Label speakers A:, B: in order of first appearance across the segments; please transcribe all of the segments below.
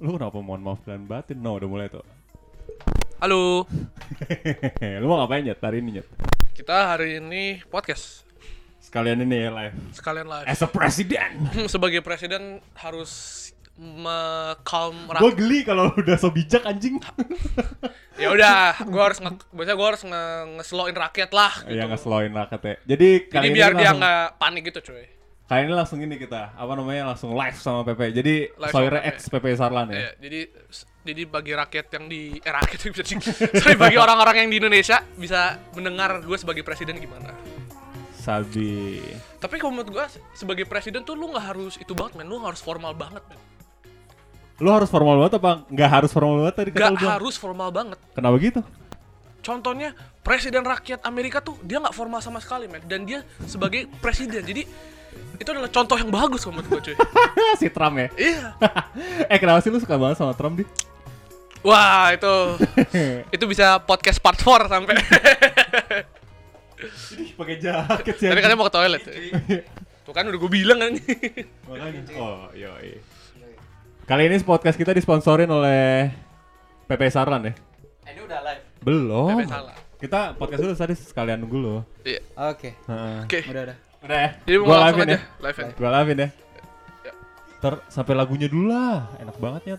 A: Lu kenapa mohon maaf dan batin? No, udah mulai tuh.
B: Halo,
A: Lu mau ngapain nyet hari ini nyet?
B: kita hari ini podcast
A: Sekalian ini ya live.
B: sekalian live.
A: As a president.
B: Sebagai presiden harus me-calm
A: Gue
B: rakyat.
A: geli kalau udah so bijak anjing.
B: Ya udah, gua harus nge biasanya gua harus nge ngeslowin rakyat lah. Gitu.
A: Iya ngeseloin lah kate. Jadi
B: Jadi
A: kali ini
B: biar dia
A: langsung- Iya.
B: nggak panik gitu cuy.
A: Kali ini langsung ini kita apa namanya langsung live sama PP. Jadi
B: Live
A: Soire
B: sama PP.
A: X PP Sarlan ya.
B: Ya, jadi jadi bagi rakyat yang di eh, rakyat yang bisa di- sorry bagi orang-orang yang di Indonesia bisa mendengar gue sebagai presiden gimana.
A: Sabi.
B: Tapi kalau menurut gue sebagai presiden tuh lu nggak harus itu banget men, lu nggak harus formal banget men.
A: Lu harus formal banget apa nggak harus formal banget tadi kata
B: Gak
A: lu bilang?
B: harus formal banget.
A: Kenapa gitu?
B: Contohnya presiden rakyat Amerika tuh dia nggak formal sama sekali men, dan dia sebagai presiden jadi itu adalah contoh yang bagus kalau menurut gue cuy.
A: si Trump ya.
B: Iya.
A: eh kenapa sih lu suka banget sama Trump di?
B: Wah itu itu bisa podcast part 4 sampai.
A: Pakai jaket sih.
B: Tapi
A: anjing.
B: katanya mau ke toilet. Tuh kan udah gue bilang kan.
A: Makanya. Oh, yoi. Kali ini podcast kita disponsorin oleh PP Saran ya?
C: Eh, Ini udah live.
A: Belum.
B: PP Saran.
A: Kita podcast dulu tadi sekalian nunggu lo.
B: Iya.
C: Oke.
A: Heeh.
B: Oke.
C: Udah udah.
A: Udah ya.
B: Jadi mau
A: Gua
B: langsung
A: live-in
B: aja
A: ya.
B: live ya.
A: Gua livein ya.
B: Ya.
A: Ter sampai lagunya dulu lah. Enak banget ya.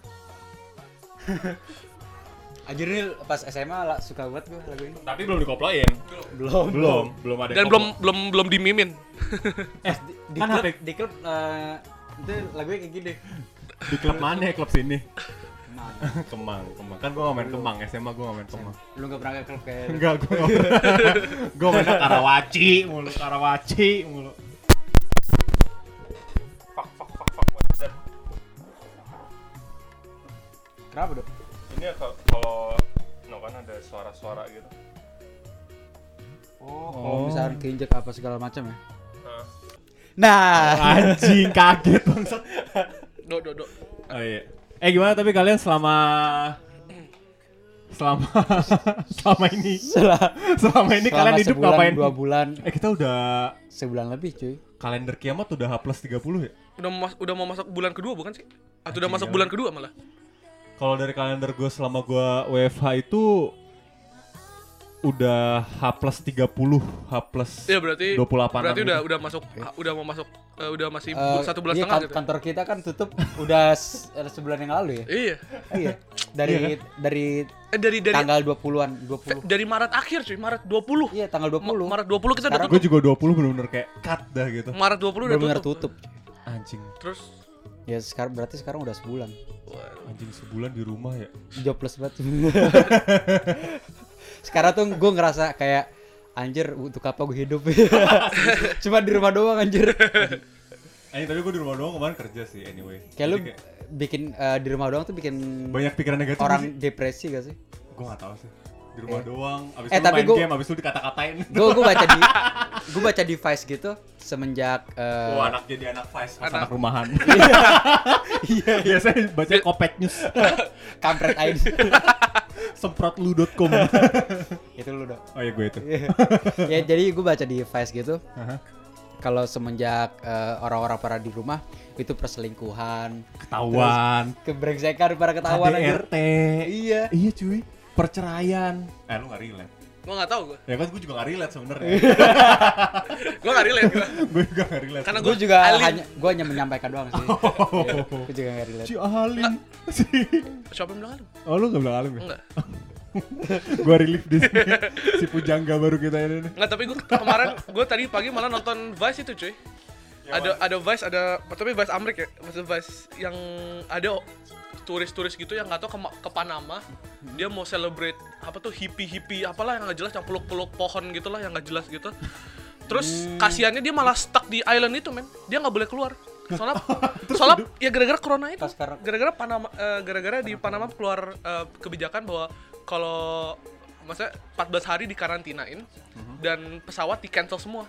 C: Anjir nih pas SMA lah, suka banget gue lagu ini.
A: Tapi belum dikoplain.
C: Belum.
A: Belum, belum ada.
B: Dan belum belum belum dimimin.
C: Eh, di, di
A: Kan
C: klub,
A: HP.
C: di klub eh, itu lagunya kayak gini.
A: di klub mana ya? Klub sini.
C: Kemana?
A: Kemang, Kemang. Kan gua gak main Kemang, SMA gua gak main Kemang.
C: Lu gak pernah ke klub kayak lu.
A: Enggak, gua gak pernah. Gua main Karawaci mulu, Karawaci mulu.
C: Kenapa, Dok?
D: ini ya kalau- kalau no kan ada suara-suara gitu
C: Oh, kalau
A: Oh.
C: misalkan keinjek apa segala macam ya. Nah,
A: Anjing kaget bangsat.
B: Do do do.
A: Oh iya. Eh gimana tapi kalian selama selama selama ini
C: setelah
A: selama ini
C: selama
A: kalian hidup
C: sebulan,
A: ngapain?
C: Dua bulan,
A: Eh kita udah
C: sebulan lebih cuy. Eh,
A: kalender kiamat udah H plus 30 ya?
B: Udah mau mas- udah mau masuk bulan kedua bukan sih? Atau udah
A: Anjing,
B: masuk
A: ya.
B: bulan kedua malah.
A: Kalau dari kalender gue selama gue WFH itu udah H plus 30, H plus
B: Iya berarti
A: 28
B: berarti udah udah masuk udah mau masuk eh, udah masih bu-
C: Eh,
B: satu bulan
C: iya,
B: setengah
C: kan-
B: gitu.
C: kantor kita kan tutup udah se- sebulan yang lalu ya.
B: Iya.
C: iya. Dari dari
B: Eh dari dari
C: tanggal 20-an, 20.
B: dari Maret akhir cuy, Maret 20.
C: Iya, tanggal 20.
B: Eh, Ma- Maret 20 kita udah
C: Sekarang
B: tutup.
A: Gue juga 20 bener-bener kayak cut dah gitu
B: Maret 20 udah
C: benar-benar
B: tutup.
C: tutup.
A: Anjing,
B: Terus
C: Ya sekarang berarti sekarang udah sebulan.
B: waduh.
A: anjing sebulan di rumah ya
C: Jobless banget. sekarang tuh gue ngerasa kayak anjir untuk apa gue hidup. Cuma di rumah doang anjir.
A: Anjing Eh, tapi gue di rumah doang kemarin kerja sih anyway
C: Kayak lu
A: Jadi
C: bikin eh, di rumah doang tuh bikin
A: Banyak pikiran negatif
C: orang depresi gak sih?
A: Gue gak tau sih Di rumah doang, abis itu
C: Eh,
A: lu
C: tapi
A: main
C: gua-
A: game, abis itu dikata-katain
C: Gue gue baca di gue baca di Vice gitu semenjak eh,
A: Wah Oh, anak jadi anak vice, pas
B: Anak-
A: anak, rumahan Iya, biasanya baca kopek news
C: kampret ID
A: Semprotlu.com
C: itu lu dong.
A: Oh iya gue itu
C: ya jadi gue baca di Vice gitu kalau semenjak eh, orang-orang para di rumah itu perselingkuhan,
A: Ketahuan
C: kebrengsekan para ketahuan anjir.
A: KDRT
C: Iya.
A: Iya cuy Perceraian Eh lu gak relate
B: Gua enggak tahu gua.
A: Ya kan gue juga gak relate sebenernya
C: Iya.
B: Gua enggak relate gua.
A: Gue juga gak relate
B: Karena
C: gue
B: gua
C: juga
B: alim.
C: hanya gue hanya menyampaikan doang sih gue juga nggak relate
A: Si Alim Si
B: Siapa yang bilang alim?
A: Oh lu gak bilang Alim ya?
B: Enggak.
A: Gue relief di sini Si Pujangga baru kita ini nih
B: Enggak, tapi gue kemarin gue tadi pagi malah nonton Vice itu, cuy. ada ada Vice, ada tapi Vice Amerika ya. Maksudnya Vice yang ada turis-turis gitu yang nggak tahu ke, Ma- ke Panama,
C: Hmm.
B: dia mau celebrate apa tuh hippie-hippie apalah yang nggak jelas yang peluk-peluk pohon gitulah yang nggak jelas gitu. Terus kasihannya dia malah stuck di island itu, men. Dia nggak boleh keluar. Soalnya soalnya ya gara-gara corona itu.
C: Pas sekarang-
B: Gara-gara Panama eh, gara-gara di Panama keluar eh, kebijakan bahwa kalau maksudnya 14 hari dikarantinain dan pesawat di cancel semua.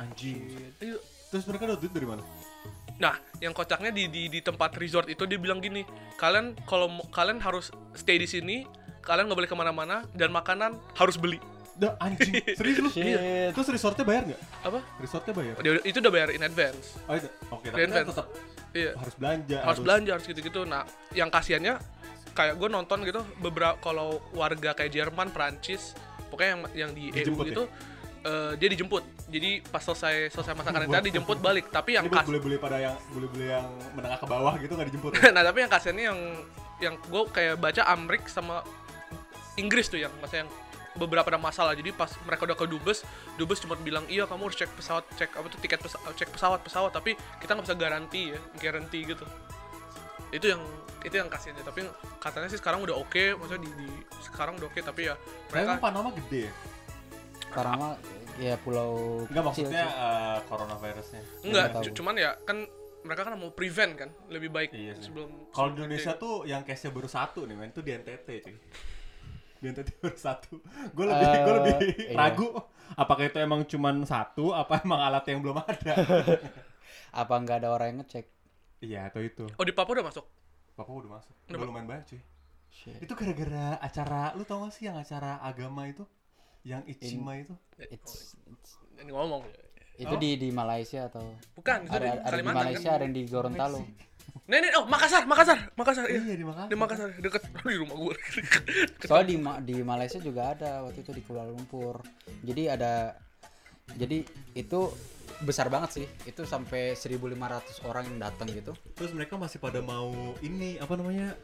A: Anjing
B: Iya.
A: Terus mereka dapat duit dari mana?
B: Nah, yang kocaknya di, di di tempat resort itu dia bilang gini, kalian kalau mau- kalian harus stay di sini, kalian nggak boleh kemana-mana dan makanan harus beli.
A: Dah anjing Serius lu?
C: Shit.
A: Iya. Terus resortnya bayar gak?
B: Apa?
A: Resortnya bayar?
B: Dia udah- itu udah bayar in advance.
A: Oh, itu. Oke, tapi
B: Grand
A: kan
B: Fans.
A: tetap
B: Iya.
A: harus belanja
B: harus belanja harus gitu-gitu nah yang kasihannya kayak gue nonton gitu beberapa kalau warga kayak Jerman Prancis pokoknya yang yang di EU
A: Dijemput ya?
B: gitu eh, dia dijemput jadi pas selesai selesai masa
A: Buat-
B: karantina dijemput balik tapi yang
A: Ini buat
B: kas
A: bule-bule pada yang bule-bule yang menengah ke bawah gitu nggak dijemput ya?
B: nah tapi yang kasihannya yang yang gue kayak baca Amrik sama Inggris tuh yang maksudnya yang beberapa ada masalah jadi pas mereka udah ke dubes dubes cuma bilang iya kamu harus cek pesawat cek apa tuh tiket pesa- cek pesawat pesawat tapi kita nggak bisa garanti ya garanti gitu itu yang itu yang kasihannya tapi katanya sih sekarang udah oke maksudnya di, di- sekarang udah oke tapi ya
A: Tapi
B: mereka
A: emang Panama gede ya?
C: Panama ya pulau
A: Enggak
C: kecil
A: maksudnya
C: sih.
A: eh, coronavirusnya
B: enggak
C: nggak tahu.
B: cu- cuman ya kan mereka kan mau prevent kan lebih baik
A: Iya sih.
B: sebelum
A: Kalau di Indonesia tuh yang case-nya baru satu nih men, itu di NTT cuy Di NTT baru satu Gue lebih,
C: Eh,
A: gua lebih
C: iya.
A: ragu Apakah itu emang cuman satu, apa emang alat yang belum ada
C: apa nggak ada orang yang ngecek?
A: Iya atau itu
B: oh di Papua udah masuk
A: Papa udah masuk,
B: Udah,
A: udah
B: Pak.
A: lumayan banyak cuy
C: Shit.
A: Itu gara-gara acara, lu tau gak sih yang acara agama itu? Yang Ichima itu?
C: It's- it's-
B: ini ngomong
C: itu di di Malaysia atau
B: bukan itu
C: ada,
B: di
C: ada di
B: Kalimantan
C: Malaysia
B: kan
C: ada yang di Gorontalo.
B: Nenek, oh Makassar, Makassar, Makassar.
A: Iya
B: Iya,
A: di Makassar
B: di Makassar deket di rumah gue.
C: Soalnya di Ma- di Malaysia juga ada waktu itu di Kuala Lumpur. Jadi ada jadi itu besar banget sih. Itu sampai 1.500 orang yang datang gitu.
A: Terus mereka masih pada mau ini, apa namanya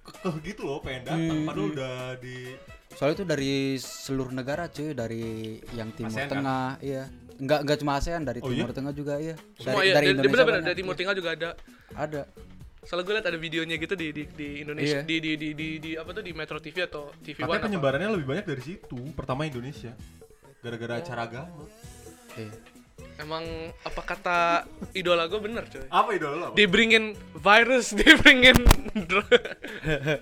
A: Kekeh gitu loh pengen datang, padahal udah di
C: Soalnya itu dari seluruh negara cuy, dari yang Timur
A: ASEAN kan?
C: Tengah, iya. Enggak enggak cuma ASEAN, dari
A: Oh,
C: Timur
A: iya?
C: Tengah juga iya. Dari
B: Semua ya,
C: dari
B: dari,
C: Indonesia.
B: bener-bener
C: banyak,
B: dari Timur
C: iya.
B: Tengah juga ada.
C: Ada.
B: Soalnya gue liat ada videonya gitu di di, di Indonesia,
C: Iya.
B: di, di, di, di, di- apa tuh di Metro TV atau TV
A: Katanya
B: One. apa.
A: penyebarannya lebih banyak dari situ. Pertama Indonesia. Gara-gara acara agama.
C: Iya.
B: Emang apa kata idola gue bener coy.
A: Apa idola lo?
B: They bring in virus, they bring in dr-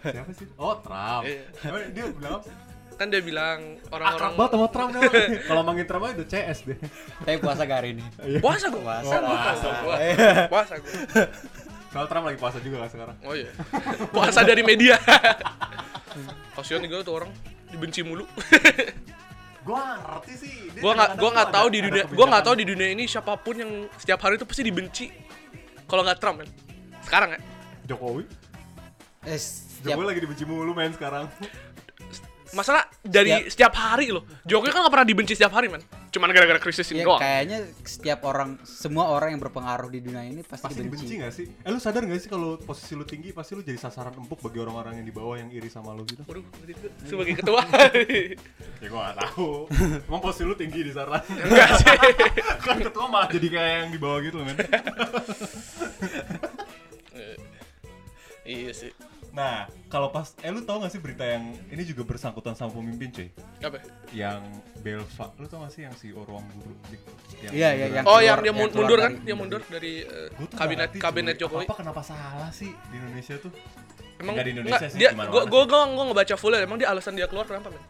A: Siapa sih? Oh, Trump.
B: Iya.
A: Emang Dia bilang apa? sih?
B: kan dia bilang
A: Akrab banget
B: orang-orang
A: sama Trump dia. Kalau manggil Trump aja udah CS deh.
C: Tapi puasa gak hari ini?
B: puasa gue, puasa gue, puasa gue, puasa
C: Iya.
B: gue.
A: Soal Trump lagi puasa juga kan sekarang.
B: Oh iya, puasa dari media. Kasian gue tuh orang dibenci mulu.
A: Gua ngerti sih. Dia
B: gua nggak gua
A: kadang-kadang
B: nggak
A: tuh
B: tahu
A: ada-
B: di
A: ada
B: dunia gua nggak tahu
A: kebijakan.
B: di dunia ini siapapun yang setiap hari itu pasti dibenci kalau nggak Trump kan sekarang ya
A: Jokowi.
C: Eh, setiap
A: Jokowi lagi dibenci mulu men sekarang.
B: masalah dari setiap, hari loh Jokowi kan nggak pernah dibenci setiap hari man cuman gara-gara krisis ini
C: Ya,
B: doang
C: kayaknya setiap orang, semua orang yang berpengaruh di dunia ini pasti,
A: Pasti
C: dibenci.
A: dibenci gak sih? Eh lu sadar gak sih kalau posisi lu tinggi pasti lu jadi sasaran empuk bagi orang-orang yang di bawah yang iri sama lu gitu?
B: waduh berarti gua sebagai ketua
A: Ya gua gak tahu. Emang posisi lu tinggi di sana.
B: enggak sih
A: kan ketua malah jadi kayak yang di bawah gitu loh, men.
B: iya sih
A: Nah, kalau pas eh lu tau gak sih berita yang ini juga bersangkutan sama pemimpin, cuy?
B: apa ya?
A: Yang Belva, lu tau gak sih yang si ruang guru? Yang
C: Iya, iya,
A: beneran-
C: yang-
B: oh
C: keluar-
B: yang dia
C: yang
B: mun-
C: keluar
B: mundur kan
C: dari-
B: dia mundur dari eh,
A: Gua tuh nggak
B: kabinet
A: ngerti,
B: kabinet
A: cuy.
B: Jokowi
A: Apa kenapa salah sih di Indonesia tuh?
B: emang
A: Nggak di Indonesia
B: nggak,
A: sih,
B: dia
A: gimana
B: gua
A: mana
B: gua gua gua ngebaca full ya emang dia alasan dia keluar kenapa men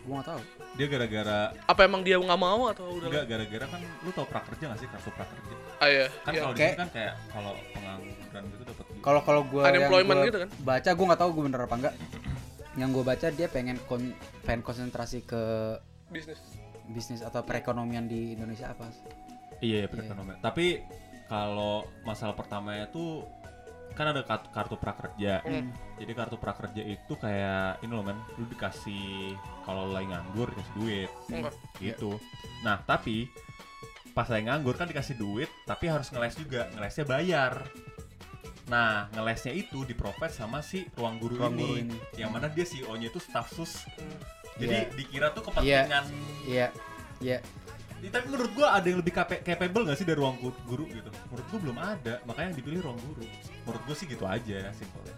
C: Gua gak tahu.
A: Dia gara-gara
B: apa emang dia nggak mau atau udah
A: enggak gara-gara kan lu tau prakerja gak sih kartu prakerja?
B: ah iya
A: Kan
B: Iya.
A: kalau di
C: kayak-
A: sini kan kayak kalau pengangguran gitu dapat gitu.
C: Kalau kalau gue
B: Unemployment gitu kan?
C: baca gue nggak tahu gue bener apa enggak. Yang gue baca dia pengen kon pengen konsentrasi ke
B: bisnis
C: bisnis atau perekonomian di Indonesia apa?
A: Iya, iya perekonomian. Tapi kalau masalah pertamanya tuh kan ada kartu, kartu prakerja.
B: Hmm.
A: Jadi kartu prakerja itu kayak ini loh men, lu dikasih kalau lu lagi nganggur dikasih duit
B: enggak
C: Iya.
A: gitu. Nah, tapi pas lagi nganggur kan dikasih duit, tapi harus ngeles juga. Ngelesnya bayar. Nah, ngelesnya itu diprofit sama si ruang guru, ini,
C: Ruang guru ini.
A: Yang mana dia CEO-nya itu staff sus.
B: Hmm.
A: Jadi
C: Iya.
A: dikira tuh kepentingan
C: Iya, iya.
A: Ya, tapi menurut gua ada yang lebih capa- capable gak sih dari ruang gu- guru gitu? Menurut gua belum ada, makanya yang dipilih ruang guru. Menurut gua sih gitu aja simpelnya.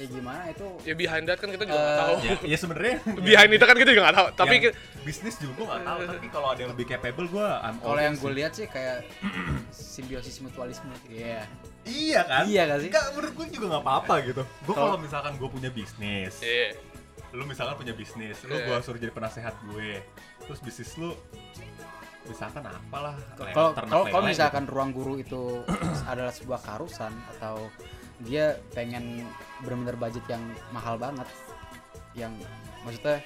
C: Ya gimana itu?
B: ya behind that kan kita juga nggak
C: Eh,
B: tahu
A: Ya, ya sebenarnya
B: behind itu kan kita juga nggak tahu tapi
A: yang
B: ki-
A: bisnis juga gua gak tahu, tapi kalau ada yang lebih capable gua I'm all
C: Kalau yang
A: in
C: gue
A: Oh, iya sih.
C: lihat sih kayak simbiosis mutualisme. Iya.
A: Iya kan?
C: Iya gak sih?
A: Enggak, menurut gua juga gak apa-apa gitu. Gua
C: Kalau-
A: kalau misalkan gua punya bisnis,
B: Iya.
A: lu misalkan punya bisnis, lu
B: Iya.
A: gua suruh jadi penasehat gue. Terus bisnis lu misalkan apalah le-
C: Kalau
A: ternak
C: kalau kalau
A: lele
C: misalkan ruang guru itu adalah sebuah keharusan atau dia pengen benar-benar budget yang mahal banget yang maksudnya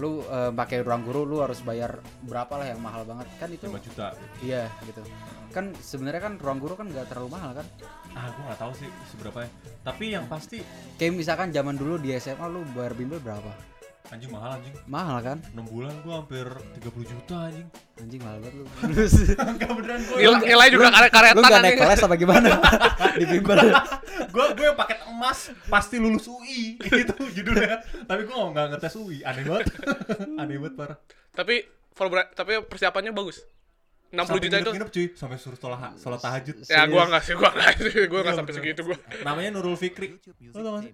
C: lu eh, pakai ruang guru lu harus bayar berapa lah yang mahal banget kan itu
A: 5 juta gitu.
C: iya gitu kan sebenarnya kan ruang guru kan nggak terlalu mahal kan
A: ah gue nggak tahu sih seberapa ya tapi yang pasti
C: kayak misalkan zaman dulu di SMA lu bayar bimbel berapa
A: anjing mahal anjing
C: mahal kan
A: 6 bulan gue hampir 30 juta anjing
C: anjing mahal banget lu
A: Enggak beneran gue
B: Nilai, nilai juga ya. karet-karetan
C: lu nggak naik
B: anjing.
C: kelas apa gimana di bimbel
A: gue gue yang paket emas pasti lulus UI itu judulnya tapi gue nggak ngetes UI aneh banget aneh banget parah
B: Tapi for- tapi persiapannya bagus. 60
A: sampai
B: juta itu.
A: nginep cuy sampai suruh sholat sholat tahajud
B: Ya gua
C: Serius.
B: enggak sih, gua enggak sih. Gua enggak
A: Iya,
B: sampai
A: bener.
B: segitu gua.
A: namanya Nurul Fikri lo tau gak sih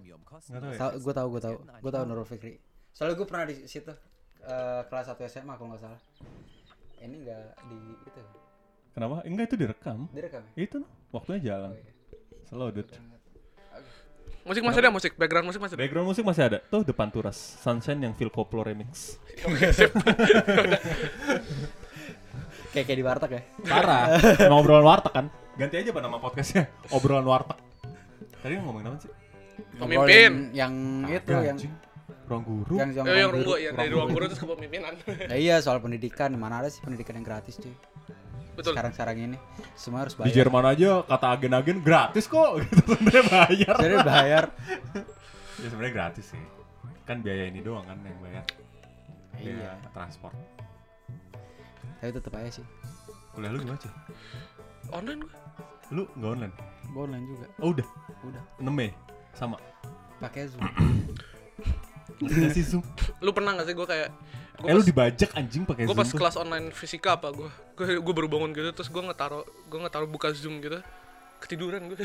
A: nggak tau ya
C: Tau, gue tau, gue tau, gue tau Nurul Fikri. Soalnya gue pernah di situ eh, kelas 1 SMA kalau nggak salah. Ini nggak di itu,
A: kenapa enggak itu direkam
C: direkam. ya?
A: itu no. waktunya jalan selodut
B: Musik masih ada musik, background musik masih ada.
A: background musik masih ada tuh depan turas sunshine yang Phil Koplo remix
B: Oke, sip.
C: Kayak kayak di warteg ya. Parah.
A: emang obrolan warteg kan ganti aja pak nama podcastnya obrolan warteg tadi ngomongin apa sih
B: Pemimpin.
C: yang
A: Ada,
C: itu Gitu yang
A: anjing. Iya, ruang guru
C: yang yang,
B: Ya, yang
C: guru.
B: gua ya dari ruang guru terus ke pemimpinan.
C: Nah, iya soal pendidikan mana ada sih pendidikan yang gratis cuy.
B: Betul.
C: Sekarang sekarang ini semua harus
A: di
C: bayar.
A: Jerman aja kata agen-agen gratis kok gitu sebenarnya bayar
C: Jadi bayar.
A: ya sebenarnya gratis sih kan biaya ini doang kan yang bayar iya
C: Iya.
A: transport
C: Tapi tetap aja sih.
A: kuliah lu gimana sih
B: Online gua.
A: lu nggak online
C: Gue online juga.
A: oh udah
C: Udah.
A: 6 Mei sama
C: Pakai Zoom.
A: Ngerti nggak sih Zoom
B: Lu pernah enggak sih gua kayak gua
A: eh lu
B: pas-
A: dibajak anjing pakai
B: gue
A: Zoom
B: pas
C: gitu.
A: tuh.
B: kelas online fisika apa gue gue gue baru bangun gitu terus gue ngetaro gue ngetaro buka zoom gitu ketiduran gue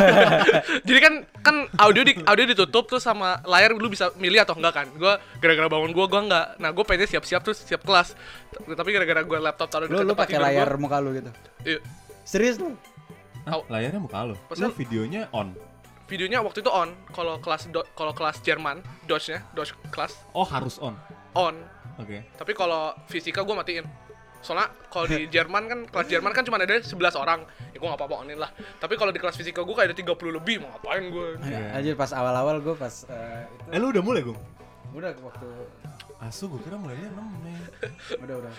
B: jadi kan kan audio di audio ditutup terus sama layar lu bisa milih atau enggak kan gue gara-gara bangun gue gue enggak nah gue pengennya siap-siap terus siap kelas T- tapi gara-gara gue laptop taruh di
C: lu lu
B: tempat
C: pakai
B: tidur
C: layar
B: gua,
C: muka lu gitu.
B: iya.
C: Serius lu?
A: Hah, layarnya muka lu
B: Pas
A: lu
B: lu-
A: videonya on
B: videonya waktu itu on kalau kelas Do- kalau kelas Jerman Deutsch nya Deutsch kelas
A: oh harus on
B: on
A: oke
B: Tapi kalau fisika gue matiin. Soalnya kalau di Jerman kan kelas Jerman kan cuma ada 11 orang. Ya gue nggak apa-apa onin lah. Tapi kalau di kelas fisika gue kayak ada 30 lebih mau ngapain gue.
A: Iya.
C: Anjir pas awal-awal gue pas eh, itu
A: eh lu udah mulai Gung
C: udah waktu
A: asu gue kira mulainya 6 Mei
C: udah udah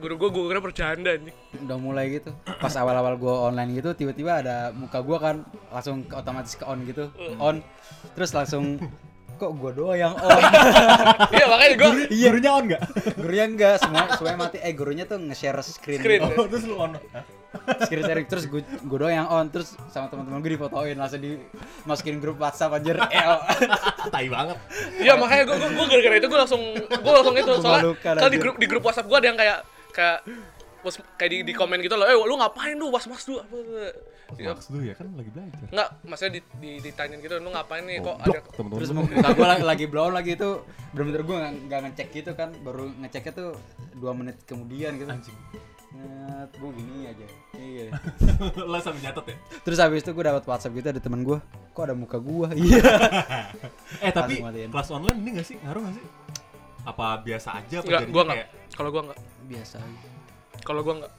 B: Guru gue gue kira bercanda nih.
C: udah mulai gitu pas awal-awal gua online gitu tiba-tiba ada muka gua kan langsung ke- otomatis ke on gitu on terus langsung kok gua doang yang on
B: Iya makanya gue
A: gurunya on nggak
C: gurunya enggak semua semuanya mati eh gurunya tuh nge-share screen
B: Screen.
A: oh terus lu on Hah?
C: screen sharing terus gua, gua doang yang on terus sama teman-teman gua difotoin langsung dimasukin grup WhatsApp anjir L
A: tai banget
B: Iya makanya gue gue gara-gara itu gue langsung gue langsung itu soalnya
C: Memalukan,
B: kalau di
C: anjir.
B: grup di grup WhatsApp gue ada yang kayak kayak was, kayak di, di komen gitu loh, eh lu ngapain lu was was lu apa Iya.
A: Maksud lu ya kan lagi belajar
B: Enggak, maksudnya di, di, ditanyain gitu, lu ngapain nih kok ada
A: Goblok, temen-temen
C: terus
A: lu.
C: muka gua lagi, lagi blown lagi itu bener-bener gua nggak- nggak ngecek gitu kan baru ngeceknya tuh dua menit kemudian gitu
A: anjing
C: Net, gua gini aja iya
A: lah sambil nyatet ya
C: Terus habis itu gue dapat WhatsApp gitu ada teman gue, kok ada muka gue? Iya.
A: Eh tapi
C: Langsung matiin.
A: kelas online ini gak sih? Ngaruh gak sih? Apa biasa aja? Apa
B: Enggak,
A: jadi
B: gue
A: kayak
B: enggak. Kalau gue enggak.
C: Biasa. aja.
B: Kalau gue enggak.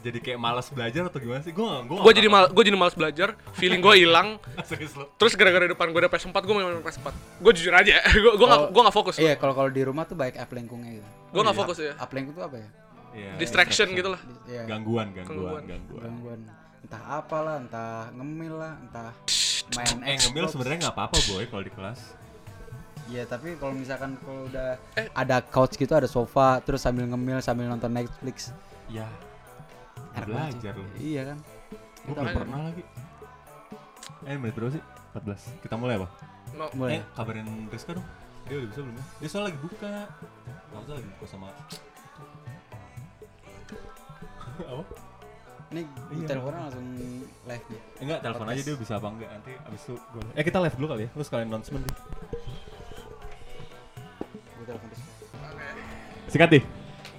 A: jadi kayak malas belajar atau gimana sih? Gue gak gua
B: gue
A: nggak
B: jadi mal gue jadi malas belajar feeling gue hilang
A: paham. Serius lo
B: terus gara-gara depan gue ada PS4 gue main main PS4 gue jujur aja gue gue nggak
C: Oh,
B: gue nggak fokus
C: Iya, kalau kalau di rumah tuh baik app lengkungnya gitu.
B: gue nggak fokus ya
C: App lengkung tuh apa ya?
A: Iya,
B: distraction gitu lah
C: Di- Iya.
A: Gangguan, gangguan,
B: Gangguan.
A: gangguan
C: Gangguan. Entah apalah, entah ngemil lah, entah
A: Eh
C: main
A: ngemil
C: Xbox.
A: sebenarnya gak apa-apa boy kalau di kelas
C: Iya, tapi kalau misalkan kalau udah
B: Eh.
C: ada couch gitu, ada sofa, terus sambil ngemil sambil nonton Netflix.
B: Iya.
A: Ya
C: Enak banget sih.
A: Belajar lo
C: Iya kan?
A: Gue belum pernah lagi Eh menit berapa sih? 14 Kita mulai apa?
B: mau
C: Mulai.
A: Eh kabarin Rizka dong Dia udah bisa belum ya? Dia soalnya lagi buka Maksudnya lagi buka sama Apa?
C: Ini
A: Iya.
C: iya. teleponnya langsung live nih.
A: Enggak, Eh, telepon aja dia bisa apa enggak nanti abis itu gue Eh kita live dulu kali ya, lu sekalian announcement deh
C: Gue telepon terus.
A: Sikat deh,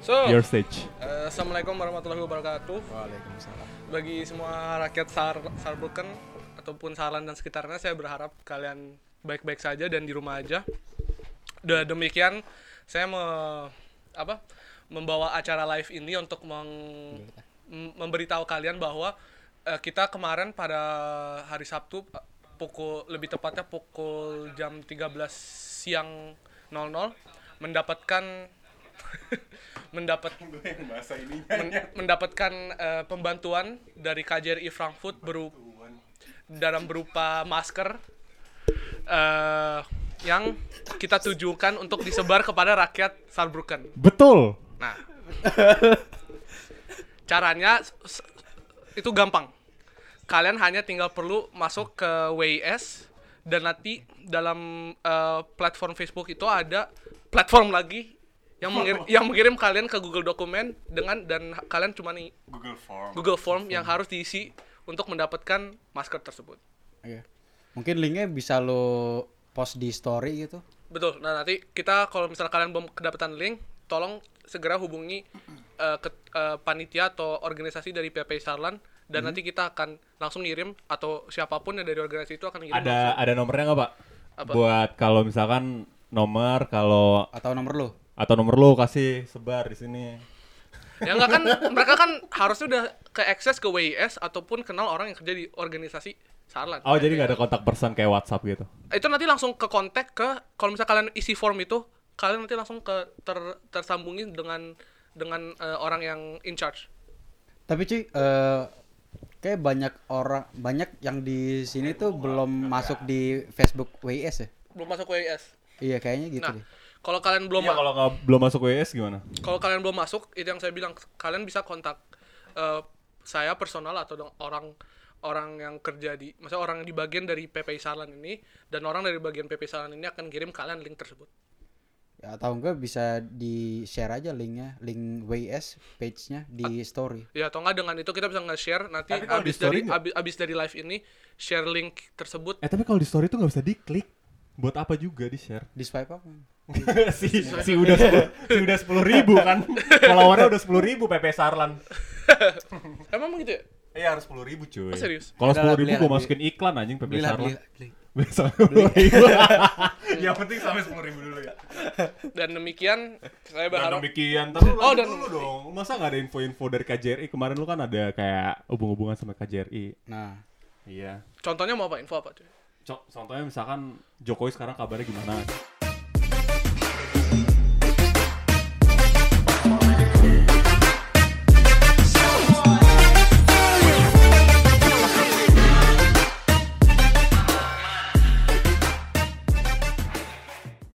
B: so
A: your stage
B: eh, assalamualaikum warahmatullahi wabarakatuh
C: Waalaikumsalam.
B: bagi semua rakyat Sar Saarbrücken ataupun Saarland dan sekitarnya saya berharap kalian baik-baik saja dan di rumah aja. Da- demikian saya me- apa membawa acara live ini untuk meng- m- memberitahu kalian bahwa eh, kita kemarin pada hari Sabtu eh, pukul lebih tepatnya pukul jam 13 siang 00 mendapatkan mendapat
D: gue yang bahasa ininya
B: men- mendapatkan eh, pembantuan dari KJRI Frankfurt beru- dalam berupa masker eh, yang kita tujukan untuk disebar kepada rakyat Saarbrücken.
A: Betul.
B: Nah, caranya s- s- itu gampang. Kalian hanya tinggal perlu masuk ke WIS dan nanti dalam eh, platform Facebook itu ada platform lagi yang mengir- yang mengirim kalian ke Google dokumen dengan dan ha- kalian cuma nih
D: Google Form
B: Google Form yang harus diisi untuk mendapatkan masker tersebut.
C: Iya. Mungkin linknya bisa lo post di story gitu.
B: Betul. Nah, nanti kita kalau misalnya kalian belum kedapatan link, tolong segera hubungi eh, ke- eh, panitia atau organisasi dari PP Sarlan
A: Mhm.
B: dan nanti kita akan langsung ngirim atau siapapun yang dari organisasi itu akan ngirim
A: Ada ada nomornya nggak pak?
B: Apa?
A: Buat kalau misalkan nomor kalau
C: Atau nomor lo.
A: atau nomor lu kasih sebar di sini.
B: langsung. Ya enggak kan mereka kan harusnya udah ke akses ke WIS ataupun kenal orang yang kerja di organisasi Sarlan.
A: Oh jadi nggak ada kontak person kayak WhatsApp gitu.
B: Itu nanti langsung ke kontak ke kalau misalnya kalian isi form itu, kalian nanti langsung ke ter- tersambungin dengan dengan eh, orang yang in charge.
C: Tapi cuy, eh kayak banyak orang banyak yang di sini tuh belum masuk di Facebook WIS ya.
B: Belum masuk ke WIS.
C: Iya kayaknya gitu
B: Nah,
C: deh.
B: kalau kalian belum
A: Iya, kalau nggak belum masuk WS gimana?
B: kalau kalian belum masuk itu yang saya bilang kalian bisa kontak eh, saya personal atau dong- orang orang yang kerja di maksudnya orang yang di bagian dari PPI Salan ini dan orang dari bagian PPI Salan ini akan kirim kalian link tersebut
C: Ya, atau enggak bisa di share aja linknya, link WIS page-nya di story.
B: ya atau enggak dengan itu kita bisa nge-share nanti
A: Tapi kalau di
B: abis
A: story
B: dari
A: nggak?
B: abi- abis dari live ini share link tersebut
A: Eh tapi kalau di story tuh nggak bisa diklik. Buat apa juga di share?
C: Di swipe up.
A: si, si udah sepuluh- si udah sepuluh ribu kan followernya udah sepuluh ribu PP Sarlan
B: emang begitu ya
A: iya harus sepuluh ribu cuy
B: Oh, serius?
A: kalau
C: Udah lah,
A: sepuluh ribu
C: beli
A: gue
C: lah,
A: masukin iklan anjing PP
C: Belilah,
A: Sarlan
C: belilah, belilah.
A: besok sepuluh ribu
D: yang penting sampai sepuluh ribu dulu ya
B: dan demikian saya
A: dan
B: berharap
A: demikian tapi
B: Oh,
A: oh,
B: dan-
A: dan dulu dong masa nggak ada info-info dari KJRI kemarin lu kan ada kayak hubung-hubungan sama KJRI
C: Nah,
A: iya
B: contohnya mau apa info apa tuh
A: contohnya misalkan Jokowi sekarang kabarnya gimana